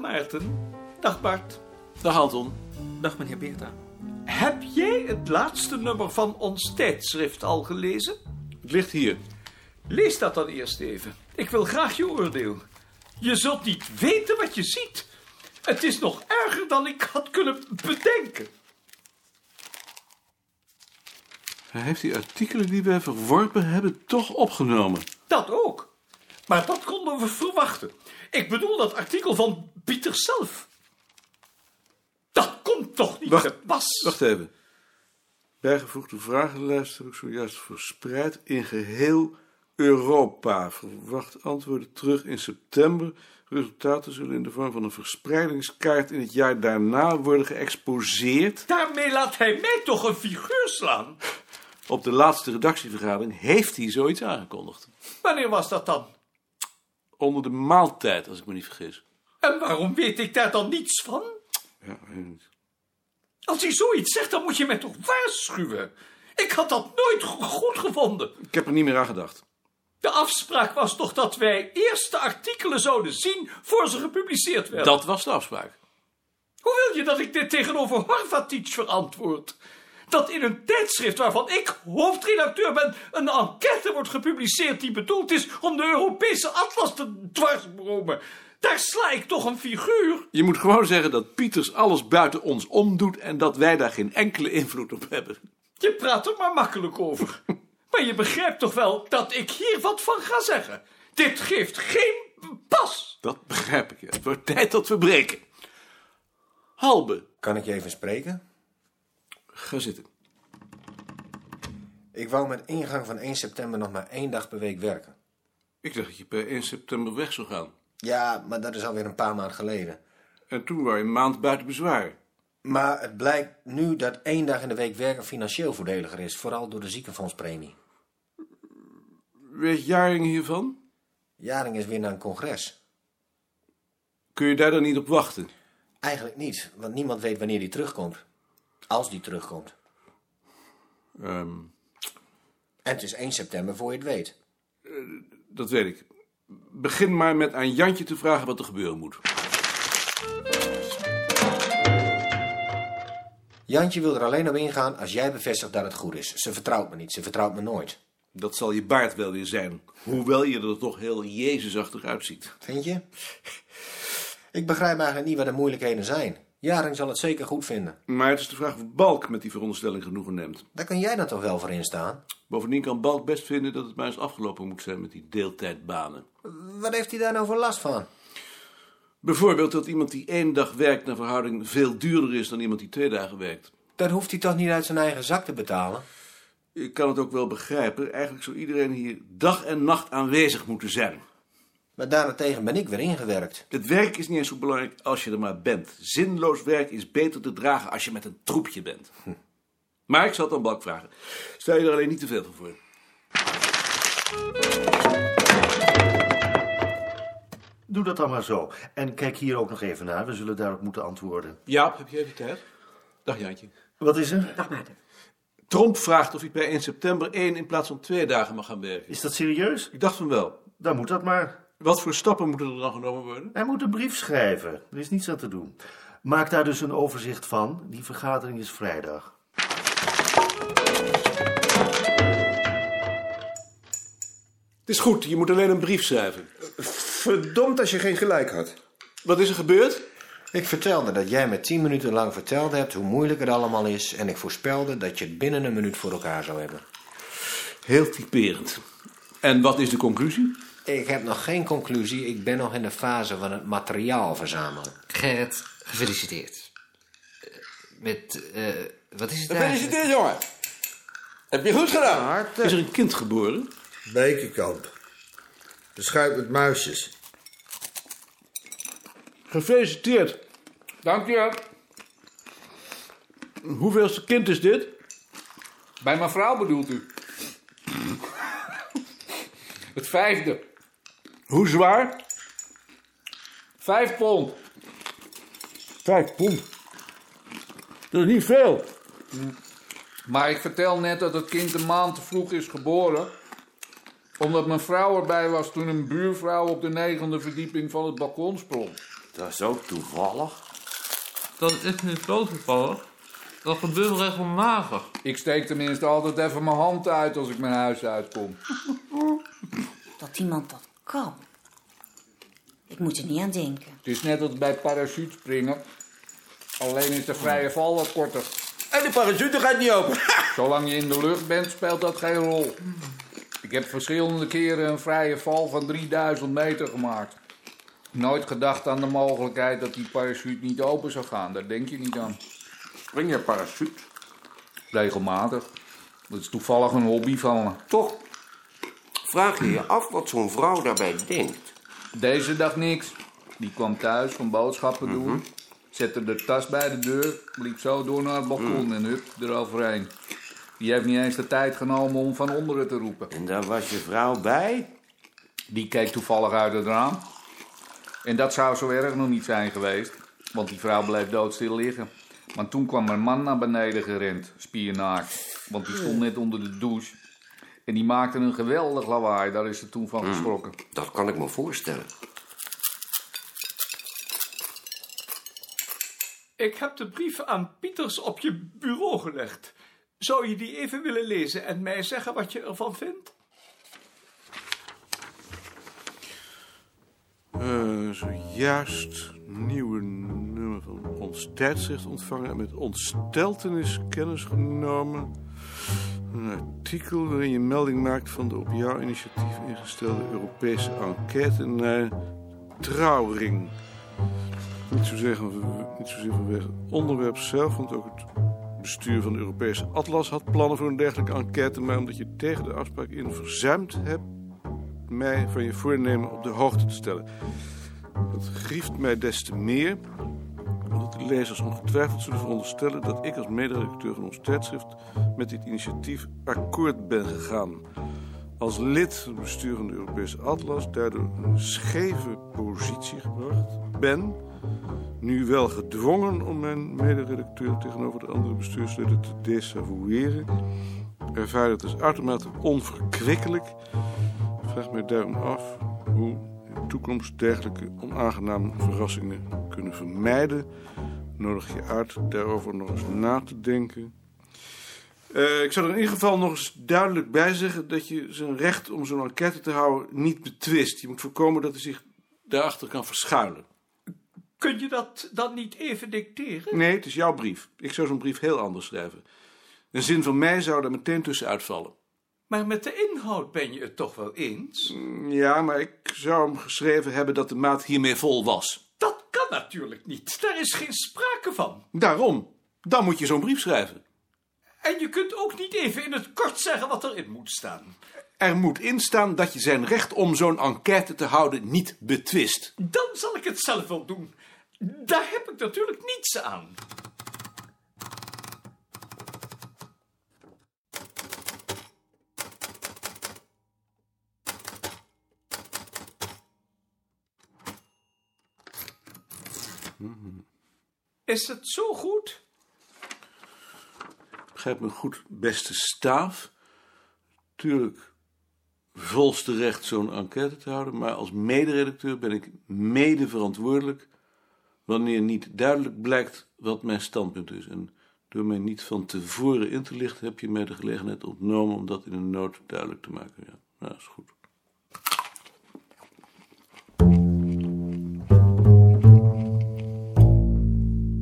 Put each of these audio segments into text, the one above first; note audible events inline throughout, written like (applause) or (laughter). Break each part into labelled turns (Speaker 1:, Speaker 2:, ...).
Speaker 1: Maarten.
Speaker 2: Dag Bart.
Speaker 1: Dag Anton.
Speaker 2: Dag meneer Beerta.
Speaker 1: Heb jij het laatste nummer van ons tijdschrift al gelezen?
Speaker 2: Het ligt hier.
Speaker 1: Lees dat dan eerst even. Ik wil graag je oordeel. Je zult niet weten wat je ziet. Het is nog erger dan ik had kunnen bedenken.
Speaker 2: Hij heeft die artikelen die wij verworpen hebben toch opgenomen.
Speaker 1: Dat ook. Maar dat konden we verwachten. Ik bedoel dat artikel van Pieter zelf. Dat komt toch niet
Speaker 2: Wacht,
Speaker 1: te pas?
Speaker 2: Wacht even. Bijgevoegde vragenlijst heb ik zojuist verspreid in geheel Europa. Verwacht antwoorden terug in september. Resultaten zullen in de vorm van een verspreidingskaart in het jaar daarna worden geëxposeerd.
Speaker 1: Daarmee laat hij mij toch een figuur slaan.
Speaker 2: Op de laatste redactievergadering heeft hij zoiets aangekondigd.
Speaker 1: Wanneer was dat dan?
Speaker 2: Onder de maaltijd, als ik me niet vergis.
Speaker 1: En waarom weet ik daar dan niets van?
Speaker 2: Ja, weet ik niet.
Speaker 1: Als hij zoiets zegt, dan moet je mij toch waarschuwen. Ik had dat nooit go- goed gevonden.
Speaker 2: ik heb er niet meer aan gedacht.
Speaker 1: De afspraak was toch dat wij eerst de artikelen zouden zien voor ze gepubliceerd werden.
Speaker 2: Dat was de afspraak.
Speaker 1: Hoe wil je dat ik dit tegenover Horvatic verantwoord? Dat in een tijdschrift waarvan ik hoofdredacteur ben, een enquête wordt gepubliceerd die bedoeld is om de Europese atlas te dwarsbomen. Daar sla ik toch een figuur.
Speaker 2: Je moet gewoon zeggen dat Pieters alles buiten ons omdoet en dat wij daar geen enkele invloed op hebben.
Speaker 1: Je praat er maar makkelijk over. maar je begrijpt toch wel dat ik hier wat van ga zeggen? Dit geeft geen pas.
Speaker 2: Dat begrijp ik. ja. Het wordt tijd dat we breken. Halbe,
Speaker 3: Kan ik je even spreken?
Speaker 2: ga zitten.
Speaker 3: Ik wou met ingang van 1 september nog maar één dag per week werken.
Speaker 2: Ik dacht dat je per 1 september weg zou gaan.
Speaker 3: Ja, maar dat is alweer een paar maanden geleden.
Speaker 2: En toen waren je een maand buiten bezwaar.
Speaker 3: Maar het blijkt nu dat één dag in de week werken financieel voordeliger is, vooral door de ziekenfondspremie.
Speaker 2: Weet Jaring hiervan?
Speaker 3: Jaring is weer naar een congres.
Speaker 2: Kun je daar dan niet op wachten?
Speaker 3: Eigenlijk niet, want niemand weet wanneer die terugkomt. Als die terugkomt.
Speaker 2: Ehm,
Speaker 3: En het is 1 september voor je het weet.
Speaker 2: dat weet ik. Begin maar met aan Jantje te vragen wat er gebeuren moet.
Speaker 3: Jantje wil er alleen op ingaan als jij bevestigt dat het goed is. Ze vertrouwt me niet, ze vertrouwt me nooit.
Speaker 2: Dat zal je baard wel weer zijn. Hoewel je er toch heel Jezusachtig uitziet.
Speaker 3: Vind je? Ik begrijp eigenlijk niet wat de moeilijkheden zijn. Jaring zal het zeker goed vinden.
Speaker 2: Maar het is de vraag of Balk met die veronderstelling genoegen neemt.
Speaker 3: Daar kan jij dan toch wel voor instaan?
Speaker 2: Bovendien kan Balk best vinden dat het maar eens afgelopen moet zijn met die deeltijdbanen.
Speaker 3: Wat heeft hij daar nou voor last van?
Speaker 2: Bijvoorbeeld dat iemand die één dag werkt naar verhouding veel duurder is dan iemand die twee dagen werkt.
Speaker 3: Dat hoeft hij toch niet uit zijn eigen zak te betalen?
Speaker 2: Ik kan het ook wel begrijpen. Eigenlijk zou iedereen hier dag en nacht aanwezig moeten zijn.
Speaker 3: Maar daarentegen ben ik weer ingewerkt.
Speaker 2: Het werk is niet eens zo belangrijk als je er maar bent. Zinloos werk is beter te dragen als je met een troepje bent. Maar ik zal het aan Balk vragen. Stel je er alleen niet te veel van voor.
Speaker 4: Doe dat dan maar zo. En kijk hier ook nog even naar. We zullen daarop moeten antwoorden.
Speaker 2: Jaap, heb je even tijd? Dag Jantje.
Speaker 4: Wat is er?
Speaker 2: Tromp vraagt of hij per 1 september 1 in plaats van twee dagen mag gaan werken.
Speaker 4: Is dat serieus?
Speaker 2: Ik dacht van wel.
Speaker 4: Dan moet dat maar.
Speaker 2: Wat voor stappen moeten er dan genomen worden?
Speaker 4: Hij moet een brief schrijven. Er is niets aan te doen. Maak daar dus een overzicht van. Die vergadering is vrijdag.
Speaker 2: Het is goed, je moet alleen een brief schrijven.
Speaker 5: Verdomd als je geen gelijk had.
Speaker 2: Wat is er gebeurd?
Speaker 3: Ik vertelde dat jij me tien minuten lang verteld hebt hoe moeilijk het allemaal is. En ik voorspelde dat je het binnen een minuut voor elkaar zou hebben.
Speaker 2: Heel typerend. En wat is de conclusie?
Speaker 3: Ik heb nog geen conclusie. Ik ben nog in de fase van het materiaal verzamelen.
Speaker 6: Gerrit, gefeliciteerd. Eh, Met, eh, wat is het eigenlijk?
Speaker 7: Gefeliciteerd, jongen. Heb je goed gedaan.
Speaker 2: Is er een kind geboren?
Speaker 5: Bekenkamp. De schuit met muisjes.
Speaker 2: Gefeliciteerd.
Speaker 7: Dank je.
Speaker 2: Hoeveelste kind is dit?
Speaker 7: Bij mijn vrouw bedoelt u. Het vijfde.
Speaker 2: Hoe zwaar?
Speaker 7: Vijf pond.
Speaker 2: Vijf pond. Dat is niet veel.
Speaker 7: Maar ik vertel net dat het kind een maand te vroeg is geboren. Omdat mijn vrouw erbij was toen een buurvrouw op de negende verdieping van het balkon sprong.
Speaker 8: Dat is ook toevallig.
Speaker 9: Dat is niet zo toevallig. Dat gebeurt regelmatig.
Speaker 7: Ik steek tenminste altijd even mijn hand uit als ik mijn huis uitkom.
Speaker 10: Dat iemand dat kan. Ik moet er niet aan denken.
Speaker 7: Het is net als bij parachutespringen. Alleen is de vrije val wat korter.
Speaker 8: En de parachute gaat niet open. (laughs)
Speaker 7: Zolang je in de lucht bent, speelt dat geen rol. Ik heb verschillende keren een vrije val van 3000 meter gemaakt. Nooit gedacht aan de mogelijkheid dat die parachute niet open zou gaan. Daar denk je niet aan.
Speaker 8: Spring je parachute?
Speaker 7: Regelmatig. Dat is toevallig een hobby van me.
Speaker 8: Toch vraag je je af wat zo'n vrouw daarbij denkt.
Speaker 7: Deze dag niks. Die kwam thuis van boodschappen doen. Zette de tas bij de deur. Liep zo door naar het balkon en hup, eroverheen. Die heeft niet eens de tijd genomen om van onderen te roepen.
Speaker 8: En daar was je vrouw bij?
Speaker 7: Die keek toevallig uit het raam. En dat zou zo erg nog niet zijn geweest. Want die vrouw bleef doodstil liggen. Maar toen kwam mijn man naar beneden gerend, spiernaakt. Want die stond net onder de douche. En die maakte een geweldig lawaai, daar is ze toen van geschrokken.
Speaker 8: Dat kan ik me voorstellen.
Speaker 1: Ik heb de brief aan Pieters op je bureau gelegd. Zou je die even willen lezen en mij zeggen wat je ervan vindt?
Speaker 2: Eh, zojuist nieuwe nummer van ons tijdschrift ontvangen en met ontsteltenis kennis genomen. Een artikel waarin je melding maakt van de op jouw initiatief ingestelde Europese enquête naar trouwring. Niet zozeer, van- niet zozeer vanwege het onderwerp zelf, want ook het bestuur van de Europese Atlas had plannen voor een dergelijke enquête, maar omdat je tegen de afspraak in verzuimd hebt mij van je voornemen op de hoogte te stellen. Dat grieft mij des te meer, omdat de lezers ongetwijfeld zullen veronderstellen dat ik als mederedacteur van ons tijdschrift met dit initiatief akkoord ben gegaan. Als lid van het bestuur van de Europese Atlas daardoor in een scheve positie gebracht ben, nu wel gedwongen om mijn mederedacteur tegenover de andere bestuursleden te desavoueren, ervaar het als uitermate onverkwikkelijk vraag mij daarom af hoe in de toekomst dergelijke onaangename verrassingen kunnen vermijden. Nodig je uit daarover nog eens na te denken. Eh, ik zou er in ieder geval nog eens duidelijk bij zeggen dat je zijn recht om zo'n enquête te houden niet betwist. Je moet voorkomen dat hij zich daarachter kan verschuilen.
Speaker 1: Kun je dat dan niet even dicteren?
Speaker 2: Nee, het is jouw brief. Ik zou zo'n brief heel anders schrijven. Een zin van mij zou daar meteen tussen uitvallen.
Speaker 1: Maar met de inhoud ben je het toch wel eens?
Speaker 2: Ja, maar ik zou hem geschreven hebben dat de maat hiermee vol was.
Speaker 1: Dat kan natuurlijk niet. Daar is geen sprake van.
Speaker 2: Daarom. Dan moet je zo'n brief schrijven.
Speaker 1: En je kunt ook niet even in het kort zeggen wat erin moet staan.
Speaker 2: Er moet instaan dat je zijn recht om zo'n enquête te houden niet betwist.
Speaker 1: Dan zal ik het zelf wel doen. Daar heb ik natuurlijk niets aan. Is het zo goed?
Speaker 2: Begrijp me goed, beste staaf. Tuurlijk, volste recht zo'n enquête te houden, maar als mederedacteur ben ik mede verantwoordelijk wanneer niet duidelijk blijkt wat mijn standpunt is. En door mij niet van tevoren in te lichten, heb je mij de gelegenheid ontnomen om dat in een nood duidelijk te maken. Ja, nou, is goed.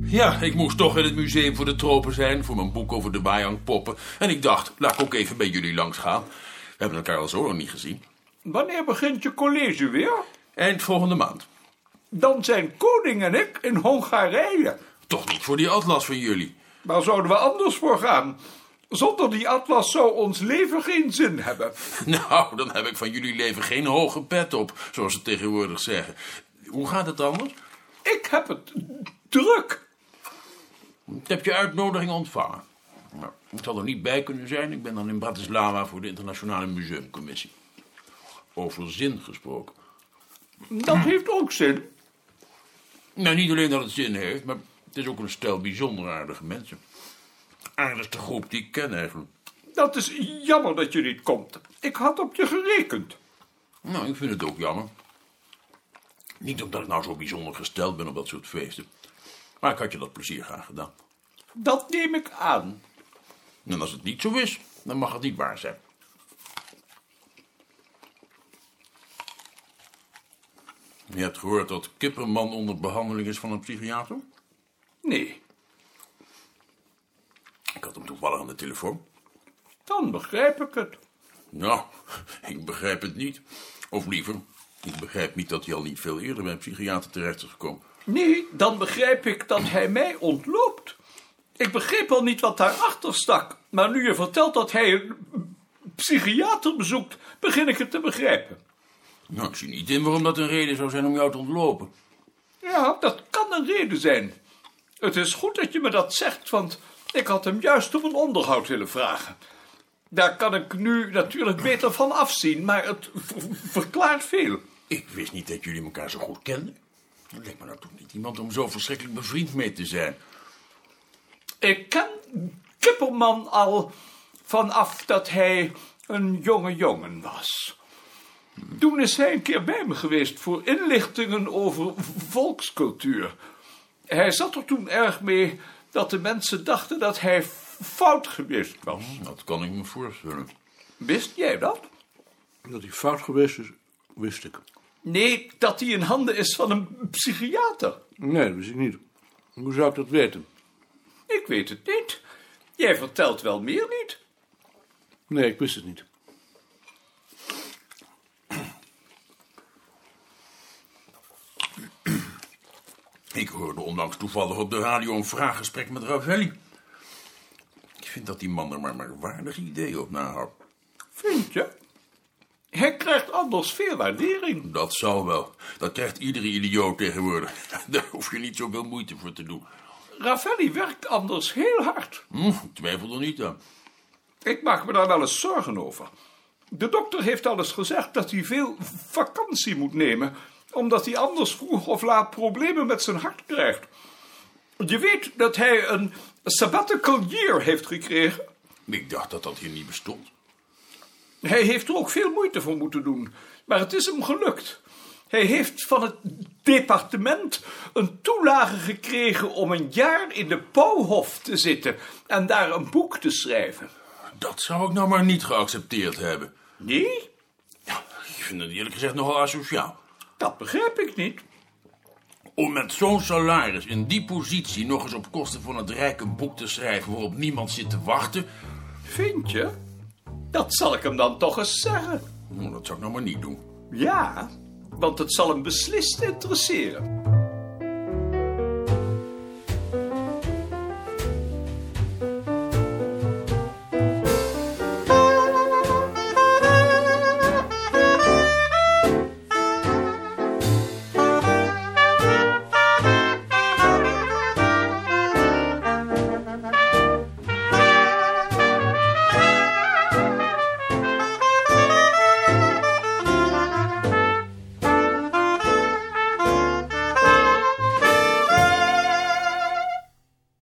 Speaker 11: Ja, ik moest toch in het museum voor de tropen zijn voor mijn boek over de Bayang-poppen. En ik dacht, laat ik ook even bij jullie langs gaan. We hebben elkaar al zo lang niet gezien.
Speaker 1: Wanneer begint je college weer?
Speaker 11: Eind volgende maand.
Speaker 1: Dan zijn koning en ik in Hongarije.
Speaker 11: Toch niet voor die atlas van jullie. (laughs)
Speaker 1: Waar zouden we anders voor gaan? Zonder die atlas zou ons leven geen zin hebben.
Speaker 11: Nou, dan heb ik van jullie leven geen hoge pet op, zoals ze tegenwoordig zeggen. Hoe gaat het anders?
Speaker 1: Ik heb het druk.
Speaker 11: Ik heb je uitnodiging ontvangen. Nou, ik zal er niet bij kunnen zijn. Ik ben dan in Bratislava voor de Internationale Museumcommissie. Over zin gesproken.
Speaker 1: Dat heeft ook zin.
Speaker 11: Nou, niet alleen dat het zin heeft, maar het is ook een stel bijzonder aardige mensen. Aardigste groep die ik ken eigenlijk.
Speaker 1: Dat is jammer dat je niet komt. Ik had op je gerekend.
Speaker 11: Nou, ik vind het ook jammer. Niet omdat ik nou zo bijzonder gesteld ben op dat soort feesten. Maar ik had je dat plezier graag gedaan.
Speaker 1: Dat neem ik aan.
Speaker 11: En als het niet zo is, dan mag het niet waar zijn. Je hebt gehoord dat Kipperman onder behandeling is van een psychiater?
Speaker 1: Nee.
Speaker 11: Ik had hem toevallig aan de telefoon.
Speaker 1: Dan begrijp ik het.
Speaker 11: Nou, ik begrijp het niet. Of liever, ik begrijp niet dat hij al niet veel eerder bij een psychiater terecht is gekomen.
Speaker 1: Nee, dan begrijp ik dat hij mij ontloopt. Ik begreep al niet wat daarachter stak. Maar nu je vertelt dat hij een psychiater bezoekt, begin ik het te begrijpen.
Speaker 11: Nou, ik zie niet in waarom dat een reden zou zijn om jou te ontlopen.
Speaker 1: Ja, dat kan een reden zijn. Het is goed dat je me dat zegt, want ik had hem juist om een onderhoud willen vragen. Daar kan ik nu natuurlijk beter van afzien, maar het v- verklaart veel.
Speaker 11: Ik wist niet dat jullie elkaar zo goed kenden. Dat lijkt me nou toch niet iemand om zo verschrikkelijk bevriend mee te zijn.
Speaker 1: Ik ken Kipperman al vanaf dat hij een jonge jongen was. Toen is hij een keer bij me geweest voor inlichtingen over volkscultuur. Hij zat er toen erg mee dat de mensen dachten dat hij fout geweest was.
Speaker 11: Hm, Dat kan ik me voorstellen.
Speaker 1: Wist jij dat?
Speaker 2: Dat hij fout geweest is, wist ik.
Speaker 1: Nee, dat hij in handen is van een psychiater.
Speaker 2: Nee, dat wist ik niet. Hoe zou ik dat weten?
Speaker 1: Ik weet het niet. Jij vertelt wel meer niet.
Speaker 2: Nee, ik wist het niet.
Speaker 11: Ik hoorde onlangs toevallig op de radio een vraaggesprek met Ravelli. Ik vind dat die man er maar maar waardig idee op nahoudt.
Speaker 1: Vind je? Hij krijgt anders veel waardering.
Speaker 11: Dat zal wel. Dat krijgt iedere idioot tegenwoordig. (laughs) Daar hoef je niet zoveel moeite voor te doen.
Speaker 1: Ravelli werkt anders heel hard.
Speaker 11: Hm, ik twijfel er niet aan.
Speaker 1: Ik maak me daar wel eens zorgen over. De dokter heeft al eens gezegd dat hij veel vakantie moet nemen, omdat hij anders vroeg of laat problemen met zijn hart krijgt. Je weet dat hij een sabbatical year heeft gekregen.
Speaker 11: Ik dacht dat dat hier niet bestond.
Speaker 1: Hij heeft er ook veel moeite voor moeten doen, maar het is hem gelukt. Hij heeft van het departement een toelage gekregen om een jaar in de Pauwhof te zitten en daar een boek te schrijven.
Speaker 11: Dat zou ik nou maar niet geaccepteerd hebben.
Speaker 1: Nee?
Speaker 11: Ja, ik vind het eerlijk gezegd nogal asociaal.
Speaker 1: Dat begrijp ik niet.
Speaker 11: Om met zo'n salaris in die positie nog eens op kosten van het Rijk een boek te schrijven waarop niemand zit te wachten.
Speaker 1: Vind je? Dat zal ik hem dan toch eens zeggen.
Speaker 11: Nou, Dat zou ik nou maar niet doen.
Speaker 1: Ja, want het zal hem beslist interesseren.